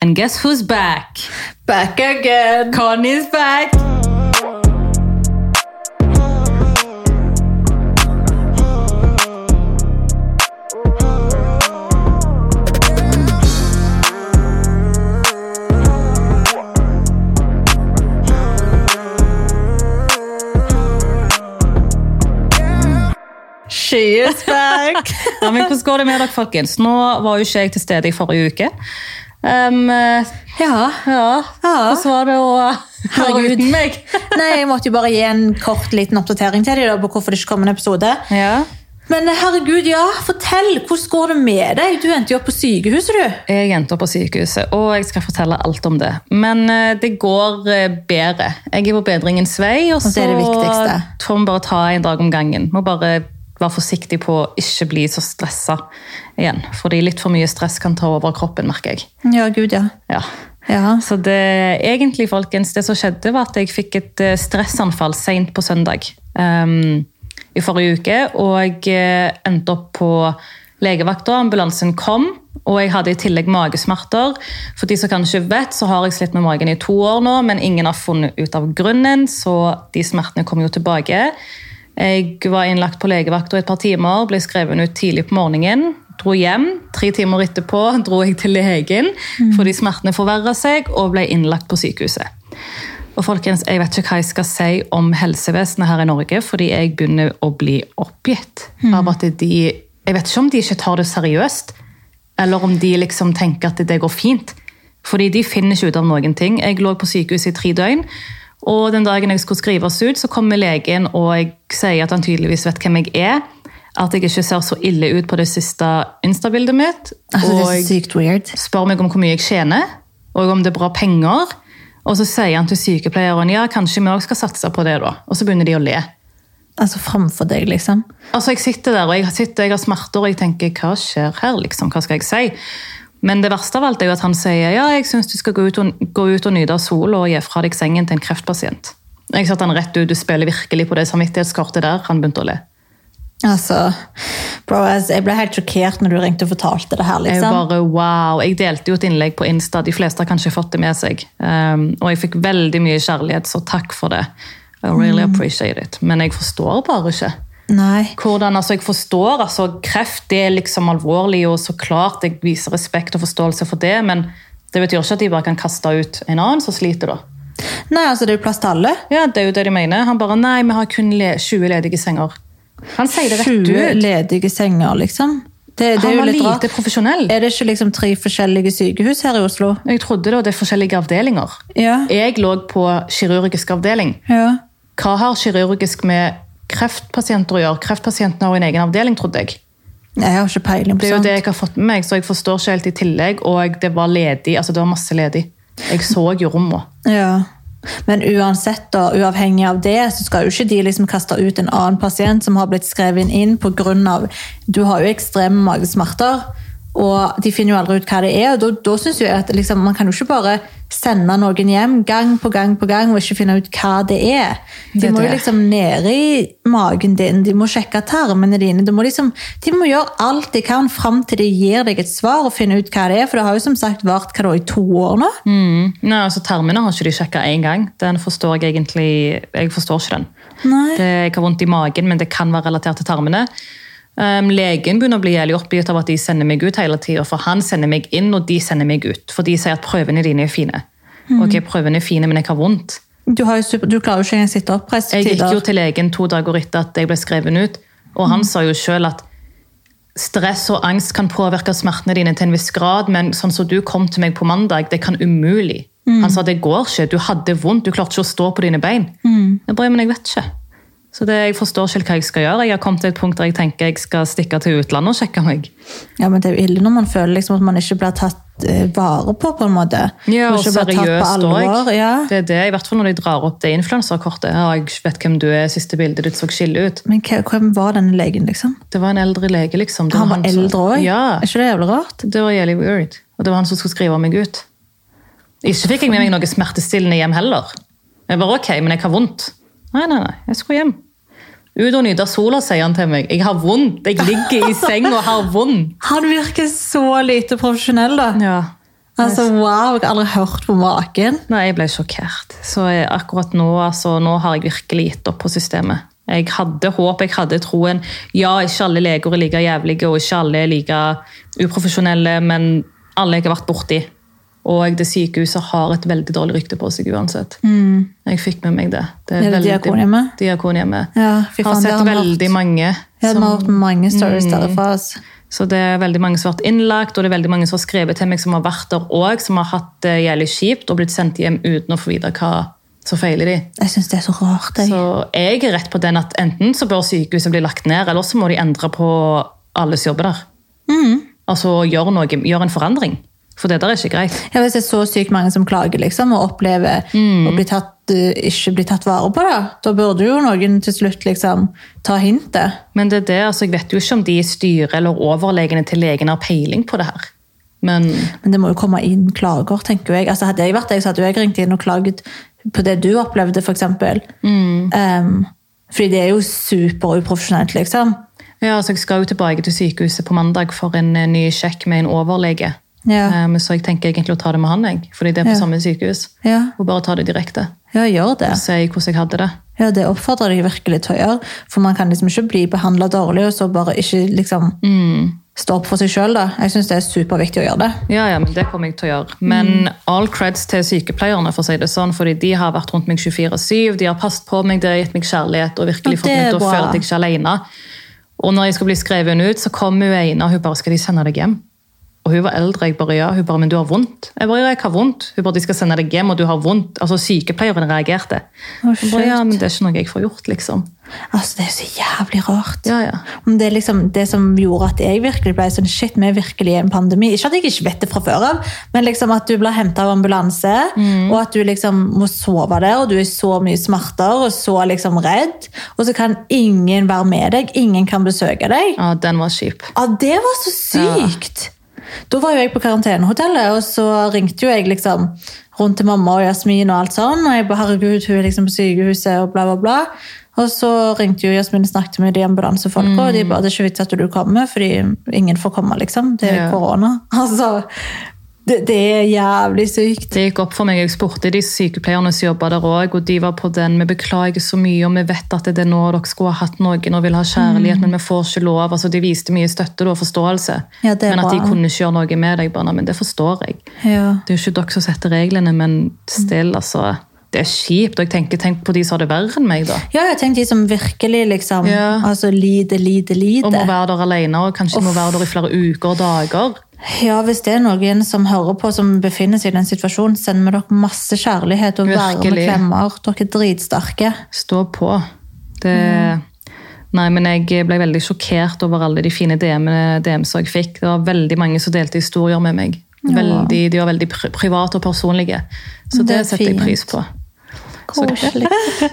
And guess who's back? Back again! Connie's back! She is back! Ja, men hvordan går det med dere, folkens? Nå var jo ikke jeg til stede i forrige uke. Um, ja. ja, hvordan var det å være Herregud. uten meg? Nei, jeg måtte jo bare gi en kort liten oppdatering til deg da, på hvorfor det ikke kom en episode. Ja, Men herregud, ja, fortell, hvordan går det med deg? Du endte jo opp på sykehuset, du. jeg er jente på sykehuset, og jeg skal fortelle alt om det. Men eh, det går eh, bedre. Jeg er på bedringens vei, og så det er det viktigste. får vi bare ta en dag om gangen. Må bare være forsiktig på å ikke bli så stressa igjen. Fordi litt for mye stress kan ta over kroppen, merker jeg. Ja, gud, ja. Ja. Ja, Så det, egentlig, folkens, det som skjedde var at jeg fikk et eh, stressanfall sent på søndag ehm, i forrige uke, og jeg eh, endte opp på legevakta, ambulansen kom, og jeg hadde i tillegg magesmerter. For de som kanskje vet, så har jeg slitt med magen i to år nå, men ingen har funnet ut av grunnen, så de smertene kom jo tilbake. Jeg var innlagt på legevakta et par timer, ble skrevet ut tidlig på morgenen. Dro hjem. Tre timer etterpå dro jeg til legen fordi smertene forverra seg, og ble innlagt på sykehuset. Og folkens, Jeg vet ikke hva jeg skal si om helsevesenet her i Norge, fordi jeg begynner å bli oppgitt. av at de, Jeg vet ikke om de ikke tar det seriøst, eller om de liksom tenker at det går fint. Fordi de finner ikke ut av noen ting. Jeg lå på sykehuset i tre døgn, og den dagen jeg skulle skrives ut, så kommer legen og jeg sier at han tydeligvis vet hvem jeg er. At jeg ikke ser så ille ut på det siste Insta-bildet mitt. altså det og- er sykt weird. spør meg om hvor mye jeg tjener, og om det er bra penger. Og så sier han til sykepleieren ja, kanskje vi også skal satse på det. da. Og så begynner de å le. Altså fremfor deg, liksom. Altså, Jeg sitter der og jeg, sitter, jeg har smerter og jeg tenker hva skjer her? liksom, Hva skal jeg si? Men det verste av alt er jo at han sier ja, jeg syns du skal gå ut, og, gå ut og nyte av sola og gi fra deg sengen til en kreftpasient. Jeg satte han rett ut, Du spiller virkelig på det samvittighetskortet der. Han begynte å le. Altså, bro, altså, jeg ble helt sjokkert når du ringte og fortalte det her, Jeg liksom. bare, wow. Jeg delte jo et innlegg på Insta, de fleste har kanskje fått det med seg. Um, og jeg fikk veldig mye kjærlighet, så takk for det. I really appreciate it. Men jeg forstår bare ikke. Nei. Hvordan, altså, jeg forstår, altså, Kreft det er liksom alvorlig, og så klart jeg viser respekt og forståelse for det, men det betyr ikke at de bare kan kaste ut en annen som sliter. da. Nei, altså det er jo plass til alle. Ja, Det er jo det de mener. Han bare nei, vi har kun le 20 ledige senger. Han sier det rett 20 ut. ledige senger, liksom. Det, det er Han jo var litt rart. lite profesjonell. Er det ikke liksom tre forskjellige sykehus her i Oslo? Jeg trodde det, og det er forskjellige avdelinger. Ja. Jeg lå på kirurgisk avdeling. ja. Hva har kirurgisk med kreftpasienter å gjøre? Kreftpasientene har en egen avdeling, trodde jeg. Jeg har ikke peiling på Det er jo sånt. det jeg har fått med meg, så jeg forstår ikke helt i tillegg. Og det var ledig, altså det var masse ledig. Jeg så jo rommene. Ja. Men uansett, da, uavhengig av det, så skal jo ikke de liksom kaste ut en annen pasient som har blitt skrevet inn pga. Du har jo ekstreme magesmerter, og de finner jo aldri ut hva det er. og Da, da synes jeg at liksom, Man kan jo ikke bare sende noen hjem gang på gang på gang og ikke finne ut hva det er. Det De er må jo det. liksom ned i magen din, de må sjekke tarmene dine. De må, liksom, de må gjøre alt de kan fram til de gir deg et svar og finner ut hva det er. For det har jo som sagt vart hva da, i to år nå. Mm. Nei, altså Termene har ikke de sjekka én gang. Den forstår Jeg egentlig, jeg forstår ikke den. Nei. Det, jeg har vondt i magen, men det kan være relatert til tarmene. Um, legen begynner å bli jævlig oppgitt av at de sender meg ut hele tida. For han sender meg inn, og de sender meg ut. For de sier at prøvene dine er fine. Ok, prøvene er fine, men jeg har vondt. Du, har jo super, du klarer jo ikke engang å sitte oppreist til Jeg gikk jo tider. til legen to dager etter at jeg ble skrevet ut, og Mm. han sa jo selv at stress og angst kan påvirke smertene dine til en viss grad, men sånn som du kom til meg på mandag, det kan umulig. Mm. Han sa det går ikke, du hadde vondt, du klarte ikke å stå på dine bein. Mm. Jeg bare, men jeg vet ikke. Så det, jeg forstår ikke helt hva jeg skal gjøre. Jeg har kommet til et punkt der jeg tenker jeg skal stikke til utlandet og sjekke meg. Ja, men det er jo ille når man føler liksom at man ikke blir tatt eh, vare på, på en måte. Ja, Man og ikke blir tatt på seriøst òg. alvor, Ja. Det er det, i hvert fall når de drar opp det influenserkortet. Ja, jeg vet hvem du er, siste bildet ditt så skille ut. Men hva- hvem var denne legen, liksom? Det var en eldre lege, liksom. Det Han som- var eldre òg? Ja, Er ikke det jævlig rart? det var jævlig weird. Og det var han som skulle skrive meg ut. Ikke fikk jeg med meg noe smertestillende hjem heller. Jeg bare, ok, men jeg har vondt. Nei, nei, nei, jeg skulle hjem. Ut og nyte sola, sier han til meg. Jeg har vondt, jeg ligger i seng og har vondt. Han virker så lite profesjonell, da. Ja, Altså, wow, jeg har aldri hørt på maken. Nei, jeg ble sjokkert. Så jeg, akkurat nå, altså, nå har jeg virkelig gitt opp på systemet. Jeg hadde håp, jeg hadde troen. Ja, ikke alle leger er like jævlige, og ikke alle er like uprofesjonelle, men alle jeg har vært borti. Og det sykehuset har et veldig dårlig rykte på seg uansett. Jeg fikk med meg det. Er Mm. det veldig- Diakonhjemmet? Diakonhjemmet. Ja, fy har faen, det sett har vi veldig hatt. mange. Jeg har som- Mm. hørt mange stories derfra. Altså. så det er veldig mange som har vært innlagt, og det er veldig mange som har skrevet til meg som har vært der òg, som har hatt det jævlig kjipt og blitt sendt hjem uten å få vite hva som feiler de. Jeg syns det er så rart. Jeg. Så jeg er rett på den at enten så bør sykehuset bli lagt ned, eller så må de endre på alles jobber der. Altså gjøre noe, gjøre en forandring. For det der er ikke greit. Ja, hvis det er så sykt mange som klager liksom, og opplever å bli tatt, eh, ikke bli tatt vare på, da, da burde jo noen til slutt liksom, ta hintet. Men det er det, altså jeg vet jo ikke om de i styret eller overlegene til legene har peiling på det her. Men Men det må jo komme inn klager, tenker jeg. Altså, hadde jeg vært deg, så hadde jo jeg ringt inn og klaget på det du opplevde, f.eks. Mm. Um, fordi det er jo superuprofesjonelt, liksom. Ja, altså Jeg skal jo tilbake til sykehuset på mandag for en eh, ny sjekk med en overlege. Ja. Um, så jeg tenker egentlig å ta det med han, jeg, fordi det er på Ja. samme sykehus. Ja, Og bare ta det direkte. ja gjør det. Si hvordan jeg hadde det. Ja, Det oppfordrer jeg virkelig til å gjøre. For man kan liksom ikke bli behandla dårlig og så bare ikke liksom stå opp for seg sjøl. Jeg syns det er superviktig å gjøre det. Ja, ja, men det kommer jeg til å gjøre. Men Mm. all creds til sykepleierne, for å si det sånn, fordi de har vært rundt meg 24-7. De har passet på meg, de har gitt meg kjærlighet og virkelig Ja, fått det meg er til å bra. føle at jeg ikke er alene. Og når jeg skal bli skrevet ut, så kom hun ene og hun bare 'Skal de sende deg hjem?' Og hun var eldre. Jeg bare 'Ja'. Hun bare 'Men du har vondt'. Jeg bare 'Ja, jeg har vondt'. Hun bare 'De skal sende deg hjem, og du har vondt'. Altså, sykepleieren reagerte. Å, Jeg bare, ja, shit. men det er ikke noe jeg får gjort, liksom. Altså, Det er så jævlig rart. Ja, ja. Om det er liksom det som gjorde at jeg virkelig ble sånn shit, vi er virkelig i en pandemi. Ikke at jeg ikke vet det fra før av, men liksom at du blir henta av ambulanse, Mm. og at du liksom må sove der, og du er så mye smerter og så liksom redd, og så kan ingen være med deg, ingen kan besøke deg. Ja, den var kjip. Ja, det var så sykt! Da var jo jeg på karantenehotellet, og så ringte jo jeg liksom rundt til mamma og Jasmin og alt sånn, og jeg bare, herregud, hun er liksom på sykehuset og bla bla bla. Og så ringte jo Jasmin og snakket med de ambulansefolka, Mm. og de bare, det er ikke vits at du kommer, fordi ingen får komme, liksom. Det er Ja. korona. Altså, det, det er jævlig sykt. Det gikk opp for meg. Jeg spurte de sykepleierne som jobba der òg, og de var på den. Vi beklager så mye, og vi vet at det er nå dere skulle ha hatt noen og vil ha kjærlighet, Mm. men vi får ikke lov. Altså, de viste mye støtte da, og forståelse, Ja, det er men at de bra. kunne ikke gjøre noe med det. Jeg bare, «Nei, men det forstår jeg. Ja. Det er jo ikke dere som setter reglene, men Mm. still, altså. Det er kjipt. Og jeg tenker, tenk på de som har det verre enn meg, da. Ja, jeg tenkte de som virkelig liksom, Ja. altså lider, lider, Og må lider. være der alene, og kanskje må være der i flere uker og dager. Ja, hvis det er noen som hører på, som befinner seg i den situasjonen, send meg dere masse kjærlighet og varme Virkelig. klemmer. Dere er dritsterke. stå på. Det, Nei, men jeg ble veldig sjokkert over alle de fine DM-ene DMs jeg fikk. Det var veldig mange som delte historier med meg. Veldig, de var veldig pri private og personlige. Så det, Det er setter jeg fint. pris på. Så det- Koselig.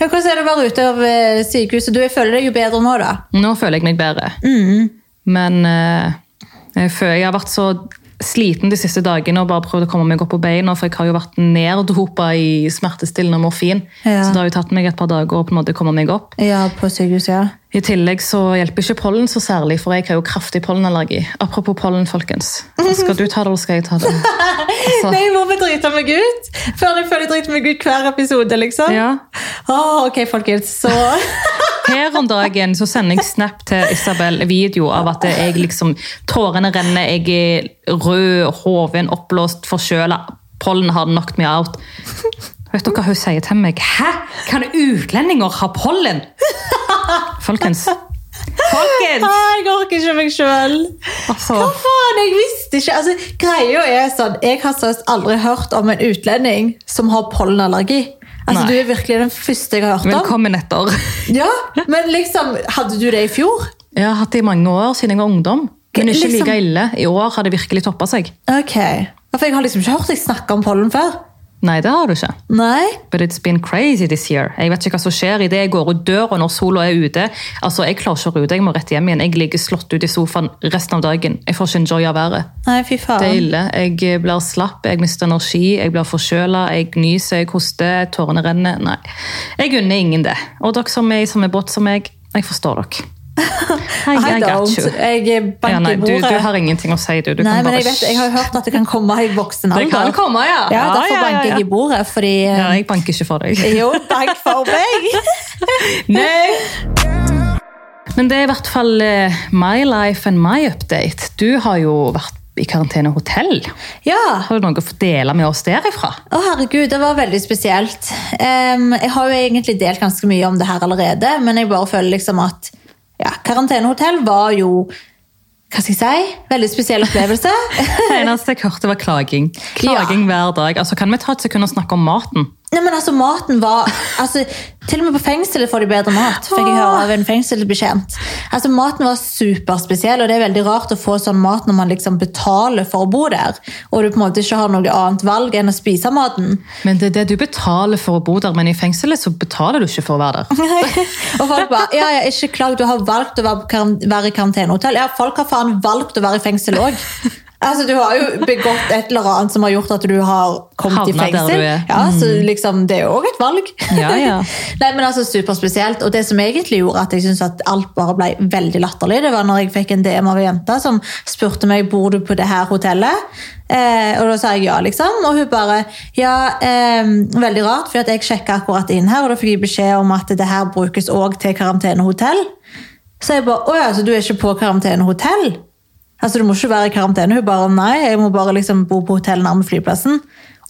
ja, hvordan er det å være ute av eh, sykehuset? Du, jeg føler deg jo bedre nå, da. Nå føler jeg meg bedre. Men eh, jeg, føler, jeg har vært så sliten de siste dagene og bare prøvd å komme meg opp på beina, for jeg har jo vært neddopa i smertestillende og morfin. Ja. Så det har jo tatt meg et par dager å på en måte komme meg opp. Ja, på sykehuset, ja. I tillegg så hjelper ikke pollen så særlig, for jeg har jo kraftig pollenallergi. Apropos pollen, folkens. Skal du ta det, eller skal jeg ta det? Altså. Nei, jeg må bare drite meg ut! Før jeg føler jeg driter meg ut hver episode, liksom. Ja. Åh, ok, folkens. Så Her om dagen så sender jeg snap til Isabel video av at jeg liksom Tårene renner, jeg er rød, hoven, oppblåst, forkjøla. Pollen har knocked me out. Vet dere hva hun sier til meg? Hæ? Kan utlendinger ha pollen? Folkens. Folkens! Ah, jeg orker ikke meg sjøl. Altså. Hva faen, jeg visste ikke altså, Greia er sånn, jeg har seriøst aldri hørt om en utlending som har pollenallergi Altså, Nei. du er virkelig den første jeg har hørt om Velkommen etter. Ja, men liksom, hadde du det i fjor? Jeg har hatt det i mange år siden jeg var ungdom. Men ikke Liksom- like ille. I år har det virkelig toppa seg. Ok Ja, For jeg har liksom ikke hørt deg snakke om pollen før Nei, det har du ikke. Nei But it's been crazy this year. Jeg vet ikke hva som skjer idet jeg går ut døra når sola er ute. Altså, Jeg klarer ikke å rute, jeg må rett hjem igjen. Jeg ligger slått ut i sofaen resten av dagen. Jeg får ikke enjoy av været. Nei, fy faen Det er ille. Jeg blir slapp, jeg mister energi, jeg blir forkjøla, jeg nyser, jeg hoster, tårene renner. Nei. Jeg unner ingen det. Og dere som er i samme båt som meg, jeg forstår dere. Hei, I got you. Jeg banker Ja, nei, i du, bordet. du har ingenting å si, du. du nei, kan men bare... jeg, vet, jeg har hørt at det kan komme i voksen alder. Det kan komme, ja. Ja, Ja, derfor ja, ja, banker ja. jeg i bordet, fordi eh, Ja, jeg banker ikke for deg. Jo, takk for meg! Nei! Men det er i hvert fall eh, my life and my update. Du har jo vært i karantenehotell. Ja, Har du noe å få dele med oss derifra? Å herregud, det var veldig spesielt. Em, jeg har jo egentlig delt ganske mye om det her allerede, men jeg bare føler liksom at ja, karantenehotell var jo hva skal jeg si? Veldig spesiell opplevelse. Det eneste jeg hørte, var klaging. Klaging hver dag. Altså, Kan vi ta et sekund og snakke om maten? Nei, men altså, maten var altså, Til og med på fengselet får de bedre mat, fikk jeg høre av en fengselsbetjent. Altså, maten var superspesiell, og det er veldig rart å få sånn mat når man liksom betaler for å bo der, og du på en måte ikke har noe annet valg enn å spise maten. Men det er det du betaler for å bo der, men i fengselet så betaler du ikke for å være der. og folk bare ja, ja, ikke klag, du har valgt å være på karan- være i karantenehotell. Ja, folk har faen valgt å være i fengsel òg. Altså, du har jo begått et eller annet som har gjort at du har kommet i Havna der fengsel. du er. Mm. Ja, så liksom, Det er jo òg et valg. Ja, ja. Nei, men altså, Superspesielt. Og det som egentlig gjorde at jeg syntes at alt bare ble veldig latterlig, det var når jeg fikk en DM av ei jente som spurte meg bor du på det her hotellet. Eh, og da sa jeg ja, liksom. Og hun bare ja, eh, veldig rart, for jeg sjekka akkurat inn her, og da fikk jeg beskjed om at det her brukes òg til karantenehotell. Så jeg bare å ja, så du er ikke på karantenehotell? Altså, du må ikke være i karantene. Hun bare nei, jeg må bare liksom bo på hotell nærme flyplassen.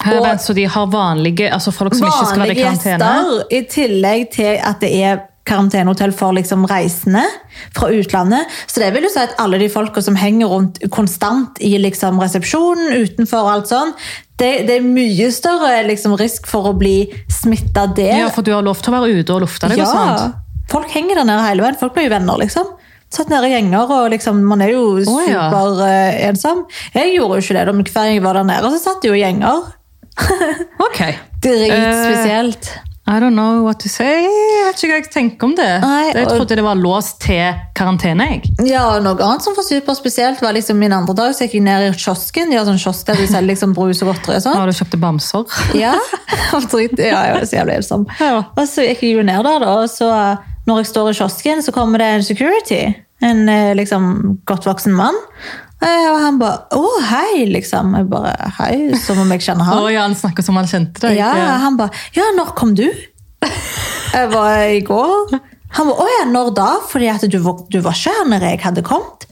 Her, Og- vent, så de har vanlige altså folk som ikke skal være i vanlige karantene? gjester, i tillegg til at det er karantenehotell for liksom reisende fra utlandet. Så det vil jo si at alle de folka som henger rundt konstant i liksom resepsjonen, utenfor og alt sånn, det, det er mye større liksom risk for å bli smitta der. Ja, for du har lov til å være ute og lufte deg og sånt. Folk henger der nede hele veien. Folk blir jo venner, liksom. Satt nede i gjenger, og liksom, man er jo Å, ja. superensom. Jeg gjorde jo ikke det, da, men hver gang jeg var der nede, så satt jeg jo i gjenger. Ok. Eh, Dritspesielt. I don't know what to say. Jeg vet ikke hva jeg tenker om det. Nei, jeg og- trodde det var låst til karantene. jeg. Ja, og noe annet som var superspesielt var liksom min andre dag, så gikk jeg ned i kiosken. De har sånn kiosk der de selger liksom brus og godteri og Nå sånn. har du kjøpt bamser. Ja, og drit, ja, jeg var så jævlig ensom. Ja. Og så gikk jeg jo ned der, da, og så når jeg står i kiosken, så kommer det en security. En eh, liksom godt voksen mann. Eh, Og han bare 'Å, hei', liksom. Jeg bare 'Hei', som om jeg kjenner Å han. ja, han snakker som han kjente deg. Ja, han bare 'Ja, når kom du?' Jeg var i går. Han bare 'Å ja, når da?' Fordi at du var, du var ikke her når jeg hadde kommet.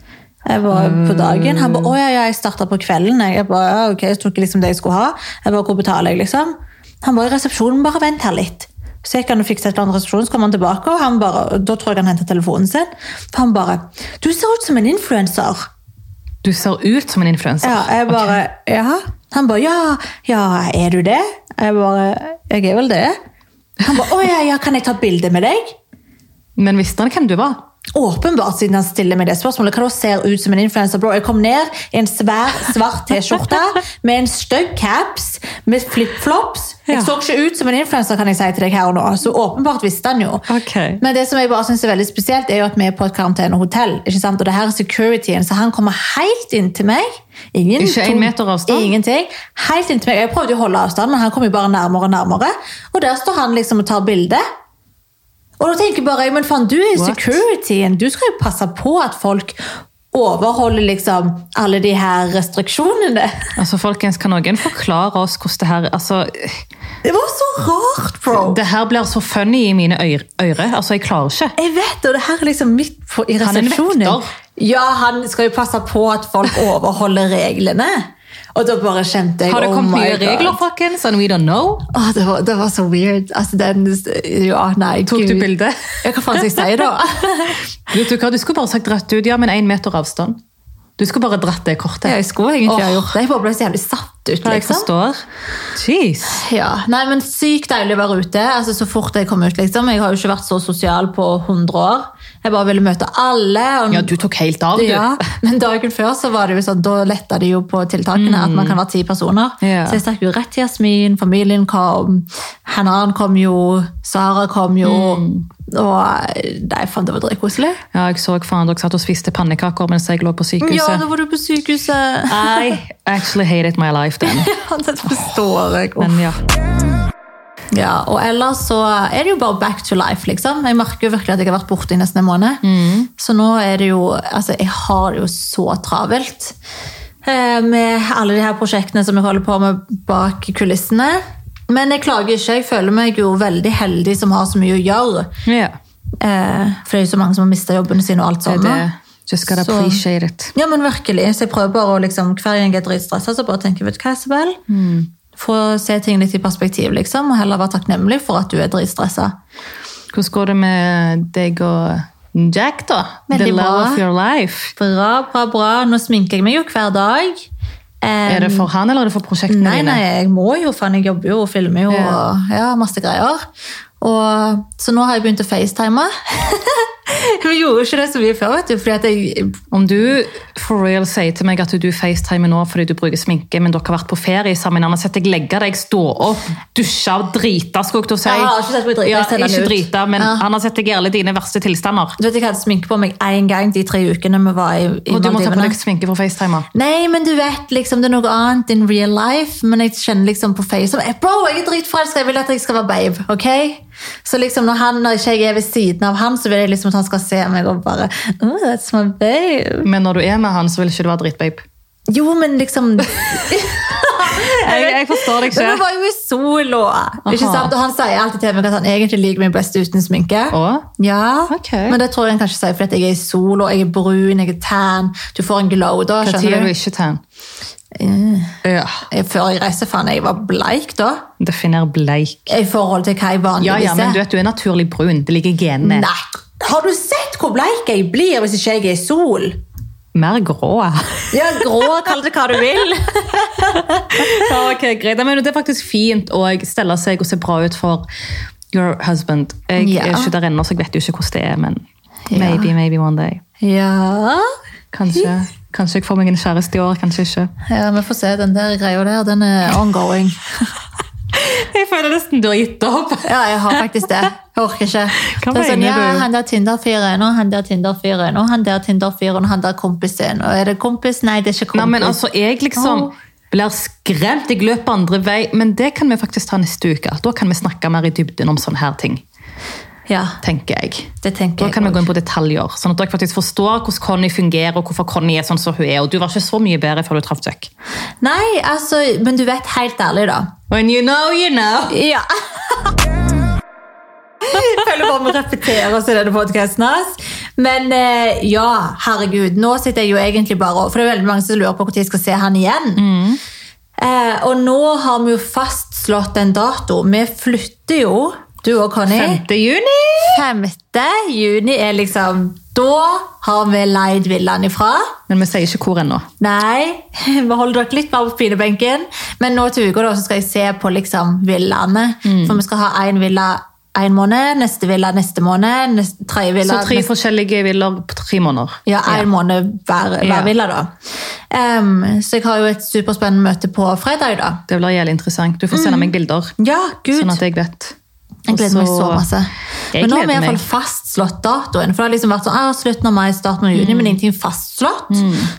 Jeg var på dagen. Han bare 'Å ja, ja, jeg starta på kvelden'. Jeg bare, ja, ok, jeg tok liksom det jeg skulle ha. Jeg bare, Hvor betaler jeg, liksom? Han bare 'I resepsjonen, bare vent her litt'. Så gikk han og fikset et eller annet resepsjon, så kom han tilbake, og han bare, og da tror jeg han hentet telefonen sin. For han bare 'Du ser ut som en influenser'. Du ser ut som en influenser. Ja, jeg bare, ja. Han bare, ja, ja, er du det? Jeg bare, jeg er vel det. Han bare, åja, ja, kan jeg ta bilde med deg? Men visste han hvem du var? Åpenbart siden han stiller meg det spørsmålet, hva da ser ut som en influencer, bro? Jeg kom ned i en svær, svart t-skjorte, med en støgg caps, med flip-flops. Jeg Ja. så ikke ut som en influencer, kan jeg si til deg her og nå. Så åpenbart visste han jo. Ok. Men det som jeg bare synes er veldig spesielt, er jo at vi er på et karantenehotell. ikke sant? Og det her er securityen, så han kommer helt inn til meg. Ingen Ikke en to- meter avstand? Ingenting. Helt inn til meg. Jeg prøvde jo å holde avstand, men han kom jo bare nærmere og nærmere. Og der står han liksom og tar bilde. Og da tenker jeg bare jeg, men faen, du er jo What? securityen. Du skal jo passe på at folk overholder liksom alle de her restriksjonene. Altså, folkens, Kan noen forklare oss hvordan det her altså, Det var så rart, bro! Det her blir så funny i mine øyre. øyre. Altså, Jeg klarer ikke. Jeg vet det, og det her er liksom midt på, i Han er en resepsjonen. vekter. Ja, han skal jo passe på at folk overholder reglene. Og da bare kjente jeg Har det oh kommet my nye God. regler, folkens? And we don't know? Åh, det, var, det var så weird. Altså, den Ja, nei, Tok du bilde? Ja, hva faen skal jeg si, da? Vet Du hva, du skulle bare sagt rett ut ja, men én meter avstand. Du skulle bare dratt det kortet. Ja, jeg skulle egentlig ha Åh. gjort det. Jeg bare ble så jævlig satt ut, Ja, jeg liksom. forstår. Jeez. Ja, nei, men Sykt deilig å være ute. altså Så fort jeg kom ut, liksom. Jeg har jo ikke vært så sosial på 100 år. Jeg bare ville møte alle. Og Ja, du tok helt av, du. Ja, men dagen før så var det jo sånn, da letta de jo på tiltakene at man kan være ti personer. Ja. Så jeg stakk jo rett til Jasmin, familien kom, Hanan kom jo, Sara kom jo. Og eh, nei, faen, det var dritkoselig. Ja, jeg så faen dere satt og spiste pannekaker mens jeg lå på Ja, sykehuset. da var du på sykehuset. I actually hated my life then. Ja, det forstår jeg. Men ja. Ja, og ellers så er det jo bare back to life, liksom. Jeg merker jo virkelig at jeg har vært borte i nesten en måned. Mm. Så nå er det jo Altså, jeg har det jo så travelt eh, med alle de her prosjektene som jeg holder på med bak kulissene. Men jeg klager ikke. Jeg føler meg jo veldig heldig som har så mye å gjøre. Ja. Eh, For det er jo så mange som har mista jobbene sine og alt Det er sånt. det. Just gotta Så- appreciate it. Ja, men virkelig. Så jeg prøver bare å liksom, hver gang jeg er dritstressa, så bare tenker jeg, vet du hva, Isabel? Mm. Få se ting litt i perspektiv, liksom. Og heller være takknemlig for at du er dritstressa. Hvordan går det med deg og Jack, da? The love Veldig bra. of your life. Bra, bra, bra. Nå sminker jeg meg jo hver dag. Eh, Er det for han, eller er det for prosjektene nei, dine? nei, jeg må jo, faen. Jeg jobber jo og filmer jo Ja. og ja, masse greier. Og, så nå har jeg begynt å facetime. Vi gjorde jo ikke det så mye før, vet du. Fordi at jeg Om du for real sier til meg at du facetimer nå fordi du bruker sminke, men dere har vært på ferie sammen, annars setter jeg legge deg, stå opp, dusje og drite, skulle jeg til å si. Ja, jeg har ikke sett meg drite, Ja, jeg ser den ikke ut. drite, men Ja. annars setter jeg i alle dine verste tilstander. Du vet, jeg hadde sminke på meg én gang de tre ukene vi var i, i Og du må ta på Maldivene. deg sminke for facetimer. Nei, men du vet liksom, det er noe annet in real life, men jeg kjenner liksom på face som, Bro, jeg er dritforelska, jeg vil at jeg skal være babe. ok? Så liksom, når, han, når ikke jeg er ved siden av han, så vil jeg liksom at han skal se meg og bare oh, that's my babe. Men når du er med han, så vil ikke du være dritbabe. Jo, men liksom Jeg, jeg forstår deg Men Vi ikke. var jo i solo. Ikke Aha. sant? Og han sier alltid til meg at han egentlig liker meg best uten sminke. Og? Ja, Ok. men det tror jeg han kanskje sier fordi at jeg er i solo, jeg er brun, jeg er tan. Du får en glow da. Hva tid skjønner er du du? ikke tan? Ja, Jeg- Før jeg reiste, faen, jeg var bleik da. definer bleik. I forhold til hva jeg vanligvis Ja, er. ja, men du vet, du er naturlig brun. Det ligger i genene. Nei. Har du sett hvor bleik jeg blir hvis ikke jeg er i sol? Mer grå. Ja, grå, kall det hva du vil. Ja, ok, greit. Nei, Men det er faktisk fint å stelle seg og se bra ut for your husband. Jeg Ja. er ikke der ennå, så jeg vet jo ikke hvordan det er, men Ja. maybe, maybe one day. Ja. Kanskje, kanskje jeg får meg en kjæreste i år, kanskje ikke. ja, vi får se. Den der greia der, den er ongoing. Jeg føler nesten du har gitt opp. Ja, jeg har faktisk det. Jeg orker ikke. Hva det er sånn, mener ja, du? Han der Tinder-fyren og han der Tinder-fyren og han der Tinder-fyren og han der kompisen. Og er det kompis? Nei, det er ikke kompis. Nei, men altså, jeg liksom Åh. blir skremt, jeg løper andre vei, men det kan vi faktisk ta neste uke. Da kan vi snakke mer i dybden om sånne her ting, Ja, tenker jeg. det tenker altså- Da jeg. kan vi også. gå inn på detaljer, sånn at dere faktisk forstår hvordan Conny fungerer, og hvorfor Conny er sånn som hun er, og du var ikke så mye bedre før du traff Jack. Nei, altså, men du vet helt ærlig, da. When you know, you know. Ja. Jeg føler bare vi repeterer oss i denne podkasten hans. Men eh, ja, herregud. Nå sitter jeg jo egentlig bare og For det er veldig mange som lurer på når jeg skal se han igjen. Eh, og nå har vi jo fastslått en dato. Vi flytter jo, du og Conny. 5. juni! 5. juni er liksom Da har vi leid villaen ifra. Men vi sier ikke hvor ennå. Nei, vi holder dere litt mer på pinebenken. Men nå til uka da, så skal jeg se på liksom villaene. Mm. For vi skal ha én villa én måned, neste villa neste måned, neste, tredje Så villa tre neste, forskjellige villaer på tre måneder. Ja, én måned hver, hver Ja. villa, da. Em, så jeg har jo et superspennende møte på fredag, da. Det blir jævlig interessant. Du får sende meg bilder, Ja, gud! sånn at jeg vet. Mm. Jeg gleder meg så masse. Jeg Men nå har vi gleder i hvert meg. fall fastslått datoen. For det har liksom vært sånn, ah, slutten av mai, starten av Mm. juni, men ingenting fastslått.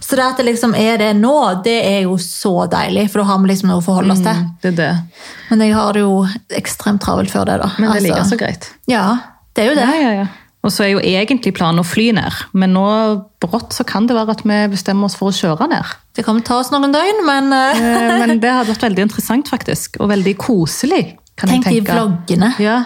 Så det at det liksom er det nå, det er jo så deilig, for da har vi liksom noe å forholde oss til. Mm, Det er det. Men jeg har det jo ekstremt travelt før det, da. Men det ligger Altså, så greit. Ja, det er jo det. Ja, ja, ja. Og så er jo egentlig planen å fly ned, men nå brått så kan det være at vi bestemmer oss for å kjøre ned. Det kommer til å ta oss noen døgn, men eh, Eh, Men det hadde vært veldig interessant faktisk, og veldig koselig, kan tenk de jeg tenke. vloggene. Ja.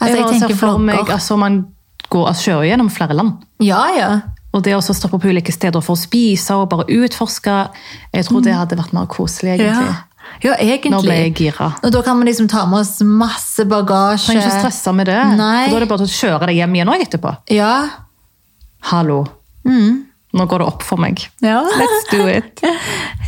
Altså, jeg bare ser tenker for vlogger. meg, altså, man går og kjører gjennom flere land. Ja, ja. Og det å så stoppe på ulike steder for å spise og bare utforske, jeg tror det hadde vært mer koselig, Ja, egentlig. Mm. ja egentlig. Nå ble jeg gira. Og da kan vi liksom ta med oss masse bagasje. Trenger ikke å stresse med det. Nei. For da er det bare å kjøre deg hjem igjen også etterpå. Ja. Mm. Hallo. Nå går det opp for meg. ja. Let's do it.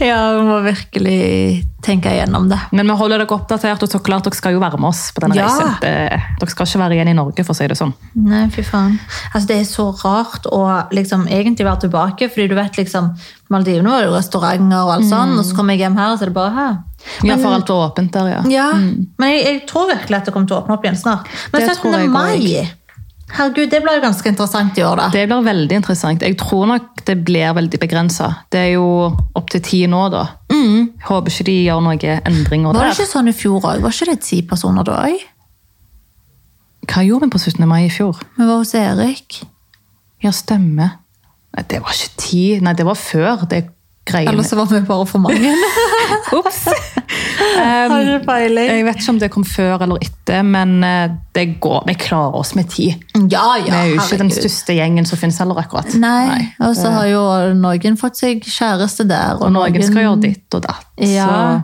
Ja, vi må virkelig tenke igjennom det. Men vi holder dere oppdatert, og så klart dere skal jo være med oss på denne Ja. reisen. Det- Dere skal ikke være igjen i Norge, for å si det sånn. Nei, fy faen. Altså, det er så rart å liksom, egentlig være tilbake, fordi du vet liksom, Maldivene var jo restauranter og alt Mm. sånn, og så kom jeg hjem her, og så er det bare her. Ja, for alt var åpent der, ja. Ja, men jeg, jeg tror virkelig at det kommer til å åpne opp igjen snart. Men Det tror 17. jeg også. mai, herregud, det blir jo ganske interessant i år da. Det blir veldig interessant. Jeg tror nok det blir veldig begrensa. Det er jo opptil ti nå, da. Håper ikke de gjør noen endringer Mm. Var det der. ikke sånn i fjor òg? Var ikke det ti personer da òg? Hva gjorde vi på 17. mai i fjor? Vi var hos Erik. Ja, stemmer. Nei, det var ikke ti. Nei, det var før det Eller greiene. så var vi bare for mange. Ops! Har um, du peiling? jeg vet ikke om det kom før eller etter, men eh, det går. Vi klarer oss med ti. Mm, Ja, ja, Vi er jo ikke den herregud. største gjengen som finnes heller akkurat. Nei, og så har jo noen fått seg kjæreste der. Og Norge skal gjøre ditt og datt. Ja.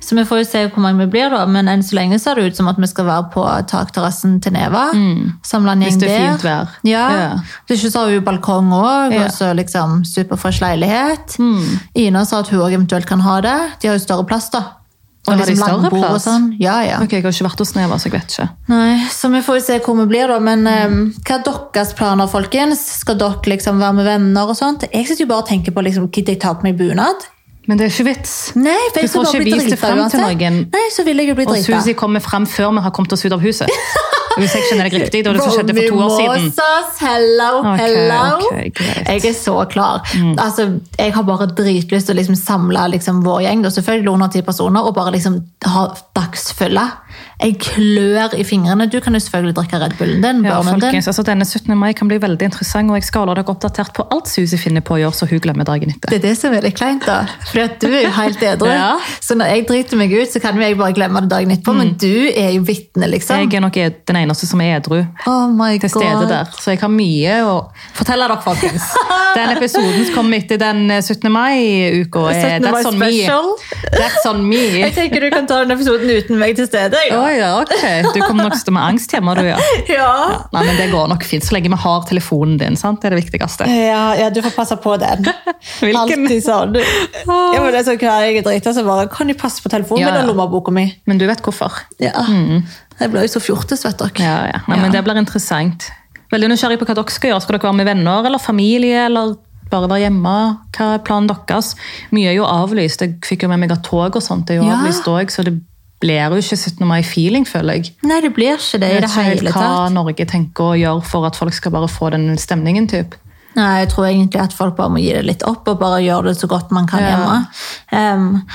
Så vi får jo se hvor mange vi blir, da. Men enn så lenge ser det ut som at vi skal være på takterrassen til Neva. Samle en gjeng Mm. Hvis det er der. fint vær. Ja. Ja. Hvis ikke så har vi jo balkong òg, Ja. Mm. og så liksom superfresh leilighet. Ina sa at hun òg eventuelt kan ha det. De har jo større plass, da. Og har de lange større bord og plass? Sånn. Ja, ja. Så, ok, jeg har ikke vært hos Neva, så jeg vet ikke. Nei, så vi får jo se hvor vi blir da, men eh, hva er deres planer, folkens? Skal dere liksom være med venner og sånt? Jeg sitter jo bare og tenker på liksom, gidder jeg ta på meg bunad? Men det er ikke vits. Nei, for jeg Du får skal bare ikke bli vist det drita frem til uansett. noen. Nei, så vil jeg jo bli Og drita. Susi kommer frem før vi har kommet oss ut av huset. Og Hvis jeg skjønner deg riktig, det var det som skjedde for to år siden. Mimosas, hello, Ok, hello. ok, greit. Mm. jeg er så klar. Altså, jeg har bare dritlyst til å liksom samle liksom, vår gjeng, da, selvfølgelig under ti personer, og bare liksom ha dagsfylle. Jeg klør i fingrene. Du kan jo selvfølgelig drikke Red Bullen din, Ja, barnen din. folkens, altså Denne 17. mai kan bli veldig interessant, og jeg skal holde dere oppdatert på alt Susi finner på å gjøre, så hun glemmer dagen etter. Det er det som er litt kleint, da. Fordi at du er jo helt edru. Ja. Mm. Så når jeg driter meg ut, så kan jo jeg bare glemme det dagen etterpå, men du er jo vitne, liksom. Jeg er nok ed- den eneste som er edru oh my til stede god. der, så jeg har mye å fortelle dere, folkens. Den episoden som kommer etter den eh, 17. mai-uka, eh, er sånn That's on 17. mai me. special. That's on me. Jeg tenker du kan ta den episoden uten meg til stede. Å Ja. ja, ok. Du kommer nok til å stå med angst hjemme, du, ja. Ja. Nei, men det går nok fint, så lenge vi har telefonen din, sant? Det er det viktigste. Ja, ja, du får passe på den. Hvilken? Alltid sånn. Du- Ja, men det er sånn hver jeg er drita, så bare Kan du passe på telefonen Ja, min ja. og lommeboka mi? Men du vet hvorfor. Ja. Jeg ble jo så fjortes, vet dere. Ja, ja. Nei, men Ja. Det blir interessant. Veldig nysgjerrig på hva dere skal gjøre. Skal dere være med venner eller familie? eller bare være hjemme? Hva er planen deres? Mye er jo avlyst. Jeg fikk jo med meg at tog og sånt er jo Ja. avlyst òg, så det blir jo ikke 17. mai-feeling, føler jeg. Nei, det blir ikke det i Jeg det vet ikke helt hele hva tatt. Norge tenker å gjøre for at folk skal bare få den stemningen. typ. Nei, jeg tror egentlig at folk bare må gi det litt opp og bare gjøre det så godt man kan Ja. hjemme. Em,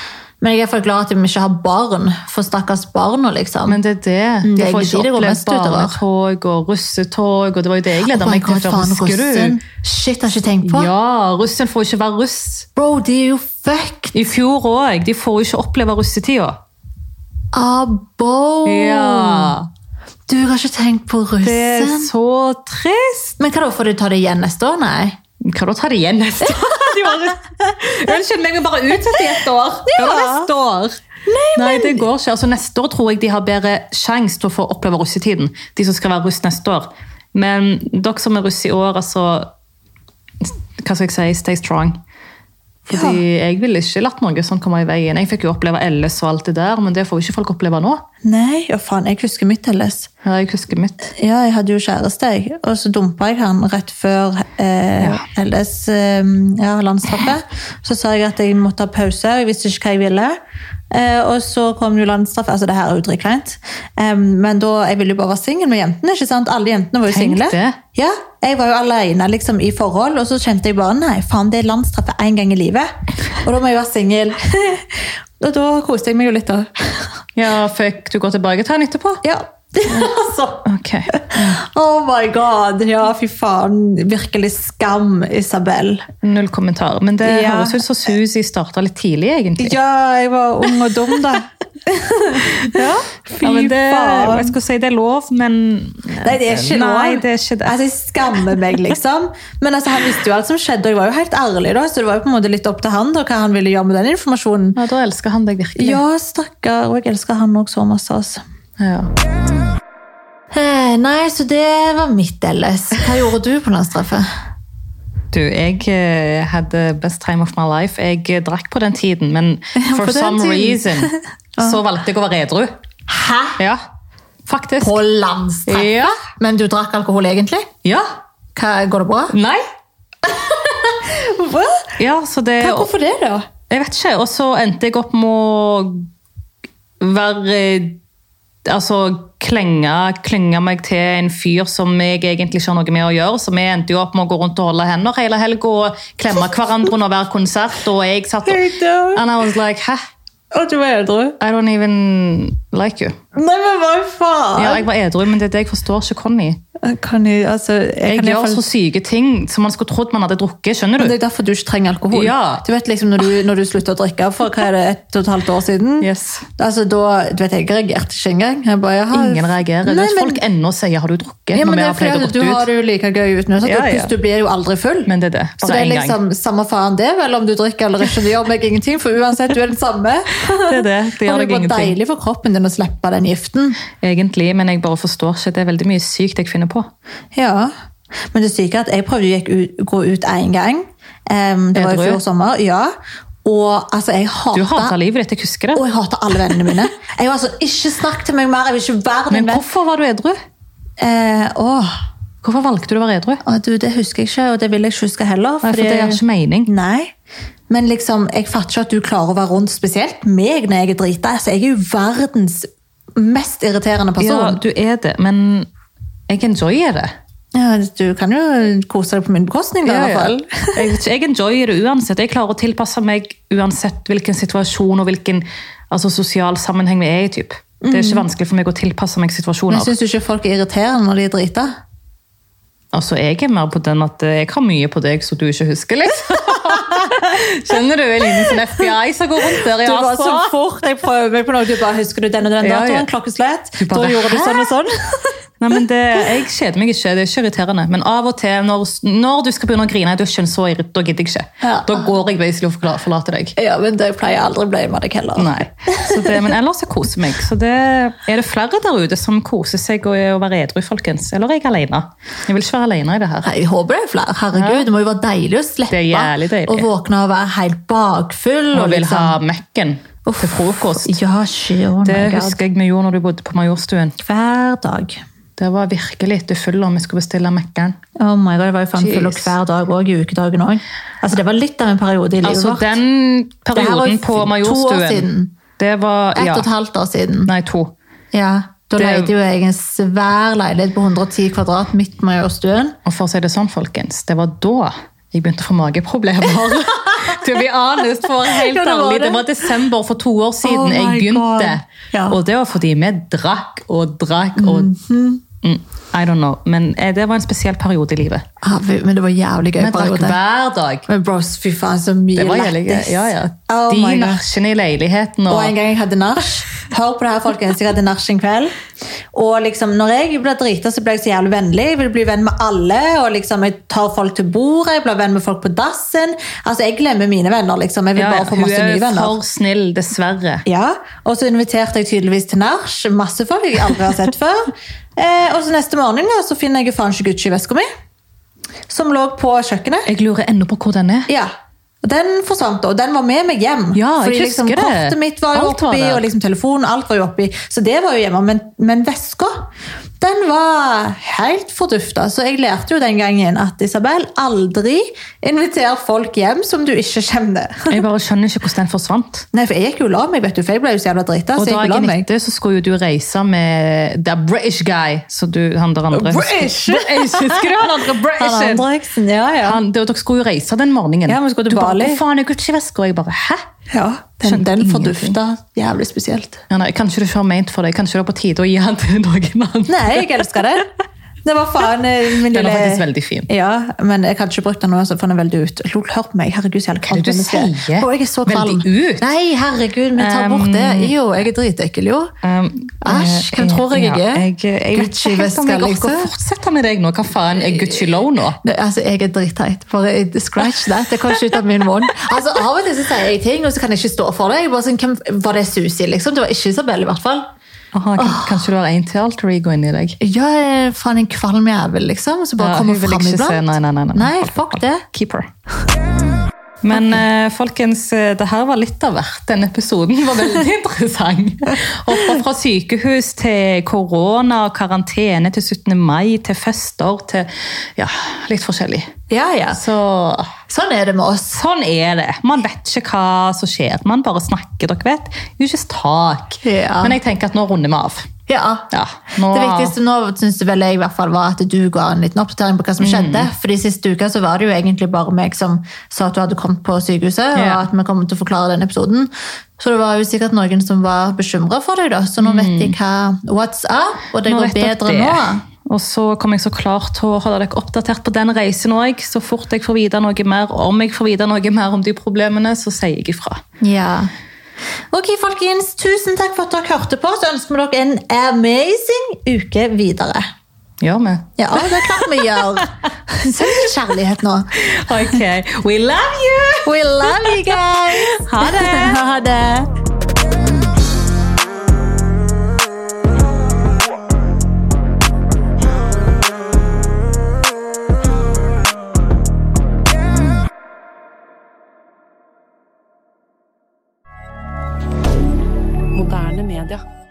men jeg er for glad at vi ikke har barn, for stakkars barna, liksom. Men det er det. det De er får ikke ikke de det går opplevd mest utover. barnetog og russetog, og det var jo det jeg gleda Oh my meg til. God, før, faen, Husker russen. du? Shit, har jeg ikke tenkt på. Ja, russen får ikke være russ. Bro, de er jo fucked I fjor òg. De får jo ikke oppleve russetida. abo! Ja. Du har ikke tenkt på Det er russen? så trist! Men hva da, får du ta det igjen neste år? Nei. Kan du ta det igjen neste år? De bare- Unnskyld meg, vi bare utsetter i ett år. Ja. Ja. neste år. Nei, det går ikke. Altså, neste år tror jeg de har bedre sjanse til å få oppleve russetiden. De som skal være russ neste år. Men dere som er russ i år, altså Hva skal jeg si? Stay strong. Fordi jeg ville ikke latt noe sånt komme i veien. Jeg fikk jo oppleve LS og alt det der, men det får jo ikke folk oppleve nå. Nei, ja faen, jeg husker mitt ellers. Ja, Jeg husker mitt. Ja, jeg hadde jo kjæreste, jeg. Og så dumpa jeg han rett før eh, LS eh, ja, landstraffet. Så sa jeg at jeg måtte ha pause, og jeg visste ikke hva jeg ville. Eh, og så kom jo landstraff. Altså, det her er jo dritkleint. Eh, men da, jeg ville jo bare være singel med jentene. ikke sant? Alle jentene var jo Tenk single. det. Ja, jeg var jo alene liksom, i forhold, og så kjente jeg bare nei, faen, det er landstraffe én gang i livet. Og da må jeg være singel. og da koste jeg meg jo litt, da. Ja, Fikk du gå tilbake til han etterpå? Ja. altså. Ok. Oh my god! Ja, fy faen. Virkelig skam, Isabel. Null kommentar. Men det Ja. høres ut som Susi starta litt tidlig, egentlig. Ja, jeg var ung og dum, da. ja, fy Ja, men det, jeg faen. skulle si det er lov, men Nei, det er ikke lov. Nei, det er ikke det. Altså, jeg skammer meg, liksom. Men altså, han visste jo alt som skjedde, og jeg var jo helt ærlig, da, så det var jo på en måte litt opp til han da, hva han ville gjøre med den informasjonen. Ja, da elsker han deg virkelig. Ja, stakkar. Og jeg elsker han òg så masse, altså. Ja. Eh, nei, så det var mitt ellers. Hva gjorde du på landstraffet? Du, jeg eh, hadde best time of my life. Jeg eh, drakk på den tiden, men på for den some tiden. reason så valgte jeg å være edru. Hæ? Ja, faktisk. På landstraffet? Ja. Men du drakk alkohol egentlig? ja. Hva, går det bra? Nei. Hva? Ja, så det Hvorfor det, da? Jeg vet ikke. Og så endte jeg opp med å være eh, Altså klenge, klenge meg til en fyr som jeg egentlig ikke har noe med å gjøre. Så vi endte jo opp med å gå rundt og holde hender hele helga og klemme hverandre under hver konsert. Og jeg satt og Helt jævlig. And I was like, hæ? Og du var edru. I don't even like you. Nei, men hva faen? Ja, jeg var edru, men det er det jeg forstår ikke Conny. Kan jeg, altså, jeg, Jeg kan i gjør hvert fall- så syke ting som man skulle trodd man hadde drukket. skjønner Det du? er derfor du ikke trenger alkohol. Ja. Du vet liksom Når du, når du slutter å drikke for hva er det, et og et halvt år siden Yes. altså, da, du vet, Jeg reagerte ikke engang. Jeg bare, jeg har- Ingen reagerer. Nei, Nei, men- Folk ennå sier 'har du drukket?' ja, når men vi det har er pleid å fordi gått du har ut. det jo like gøy uten sant? Ja, Og ja. plutselig, Du blir jo aldri full. Men det er det. så Bare det er én gang. liksom samme faen det, vel, om du drikker eller ikke. Det gjør meg ingenting, for uansett, du er den samme. Det er det. Det gjør Og det er deg bare ingenting. deilig for kroppen din å slippe den giften. Egentlig, men jeg bare forstår ikke. Det er veldig mye sykt jeg finner på. Ja, men det syke er at jeg prøvde å gikk ut, gå ut en gang. Em, det var i Edru? fjor sommer. Ja. Og altså, jeg Du hatet- hater livet ditt, jeg husker Og det. jeg hater alle vennene mine. Jeg var sånn, Ikke snakk til meg mer! Jeg vil ikke være din Men venn. hvorfor var du edru? Eh, åh, Hvorfor valgte du å være edru? å, du, det husker jeg ikke, og det vil jeg ikke huske heller. Nei, for fordi- det gjør ikke mening. Nei. Men liksom, jeg fatter ikke at du klarer å være rundt spesielt meg når jeg er drita. Altså, jeg er jo verdens mest Ja, irriterende person. Altså, du er det, men jeg enjoyer det. Ja, du kan jo kose deg på min bekostning, da, i hvert fall. jeg, vet ikke, jeg enjoyer det uansett. Jeg klarer å tilpasse meg uansett hvilken situasjon og hvilken altså, sosial sammenheng vi er i. Typ. Det er ikke Mm. vanskelig for meg å tilpasse meg Men situasjoner. syns du ikke folk er irriterende når de er drita? Altså, Jeg er mer på den at eh, jeg har mye på deg som du ikke husker, liksom. Skjønner du? Jeg ligner som FBI som går rundt der i Du var så Asia. fort jeg prøver meg på noe. Du bare 'Husker du den og den Ja, datoen?' ja. Klokkeslett. Du bare, da gjorde du «Hæ?» sånn og sånn. Nei, men det, Jeg kjeder meg ikke, det er ikke irriterende. Men av og til, når, når du skal begynne å grine i dusjen, så irrit- da gidder jeg ikke. Ja. Da går jeg basically og forla- forlater deg. Ja, men det pleier jeg aldri å bli med deg heller. Nei. Så det, men ellers jeg koser meg. Så det, er det flere der ute som koser seg og er å være edru, folkens? Eller er jeg alene? Jeg vil ikke være alene i det her. Nei, Jeg håper det er flere. Herregud, det må jo være deilig å slippe Det er jævlig deilig. å våkne og være helt bakfull. Og Og vil ha liksom, Mekken til frokost. Ja, shit, oh my Det God. husker jeg vi gjorde når du bodde på Majorstuen. Hver dag. Det var virkelig etter full om vi skulle bestille Mekken. Oh my god, Jeg var jo faen full og Jeez. hver dag òg, i ukedagen òg. Altså, det var litt av en periode i livet Altså, vårt. den Det her var jo perioden på to år Majorstuen siden. Det var Ett ja, og et halvt år siden. Nei, to. Ja, Da Det- leide jo jeg en svær leilighet på 110 kvadrat midt på Majorstuen. Og for å si det sånn, folkens, det var da jeg begynte å få mageproblemer. to be honest, for å være helt Ja, det var ærlig. det. Det var desember for to år siden Oh jeg my begynte. God. Ja. Og det var fordi vi drakk og drakk og Mhm. mm, I don't know. Men eh, det var en spesiell periode i livet. Ah, vi- men det var jævlig gøy. Vi drakk periode. hver dag. Men bros, fy faen, så mye Det var jævlig gøy. lættis. Ja, ja. Oh De my god. nachene i leiligheten og Og en gang jeg hadde nach. Hør på det her, folkens. Jeg hadde nach en kveld. Og liksom, når jeg ble drita, så ble jeg så jævlig vennlig. Jeg vil bli venn med alle. og liksom, Jeg tar folk til bordet, jeg blir venn med folk på dassen. Altså, Jeg glemmer mine venner, liksom. Jeg vil Ja, ja. bare få Hun masse nye er venner. for snill, dessverre. Ja, Og så inviterte jeg tydeligvis til nach. Masse folk jeg aldri har sett før. Eh, og så neste morgen da, så finner jeg jo faen ikke Gucci-veska mi, som lå på kjøkkenet. Jeg lurer ennå på hvor den er. Ja. Og Den forsvant, og den var med meg hjem. Ja, jeg Fordi husker liksom, det. Kortet mitt var jo Alt var oppi, der. og liksom telefonen, alt var jo oppi. Så det var jo hjemme. Men, men veska, den var helt fordufta. Så jeg lærte jo den gangen at Isabel, aldri inviter folk hjem som du ikke kjenner. Jeg bare skjønner ikke hvordan den forsvant. Nei, for jeg gikk jo og la meg, vet du, for jeg ble jo så jævla drita. Og Så jeg gikk og la dagen meg. etter så skulle jo du reise med The British Guy. Så du, han der andre British! British! Husker du han andre Han British? andre eksen, ja, ja. Han, det, dere skulle jo reise den morgenen. Ja, vi skulle til du bare, Bali. Hvor faen er Gucci-veska? Og jeg bare hæ? ja den, Skjønte den ingenting. fordufta jævlig spesielt. Ja, nei, kanskje du ikke har ment for det? Kanskje det er på tide å gi han til noen andre? Nei, jeg elsker den. Det var faen eh, min Den lille er faktisk veldig fin. Ja, men jeg kan ikke brukt den nå, så får den veldig ut. Lol, hør på meg. Herregud, så jævlig Hva er det du menneske jeg er. sier? Å, jeg er så Veldig kvalm. ut. Nei, herregud, men ta bort det. Jo, jeg er dritekkel, jo. Um, Æsj, hvem eh, tror jeg jeg er? jeg, jeg vet ikke helt om Gucci-veska, jeg orker å liksom. fortsette med deg nå. Hva faen, er Gucci low nå? Nei, altså, jeg er dritteit. Bare jeg- scratch that. Det kom ikke ut av min munn. Altså, av og til så sier jeg ting, og så kan jeg ikke stå for det. Jeg bare sånn, hvem, var det Susi, liksom? Det var ikke Isabel, i hvert fall. Aha, kan- Kanskje du har en til alter ego inni deg? Ja, jeg er faen en kvalm jævel, liksom. Og så bare Ja, kommer hun vil frem ikke se. iblant. Nei, nei, nei, nei. Nei, fuck det. Keeper. Men eh, folkens, eh, det her var litt av hvert. Denne episoden var veldig interessant. Hoppa fra sykehus til korona, karantene til 17. mai, til fester til Ja, litt forskjellig. Ja, ja. Så Sånn er det med oss. sånn er det. Man vet ikke hva som skjer. Man bare snakker, dere vet. You just talk. Ja. Men jeg tenker at nå runder vi av. Ja. Ja. Nå- Det viktigste nå synes jeg vel jeg i hvert fall var at du ga en liten oppdatering på hva Mm. som skjedde. For de siste uka så var det jo egentlig bare meg som sa at du hadde kommet på sykehuset, og Ja. at vi kommer til å forklare den episoden. Så det var jo sikkert noen som var bekymret for deg da, så nå vet de hva what's up, og det Mm. Nå vet går dere bedre det. nå. Og så kommer jeg så klart til å holde dere oppdatert på den reisen òg. Så fort jeg får vite noe mer om jeg får vite noe mer om de problemene, så sier jeg ifra. Ja. Ok, folkens. Tusen takk for at dere hørte på. Så ønsker vi dere en amazing uke videre. Gjør vi? Ja, det er klart vi gjør. Send litt kjærlighet nå. Ok. We love you! We love you guys! Ha det. ha det. Moderne media.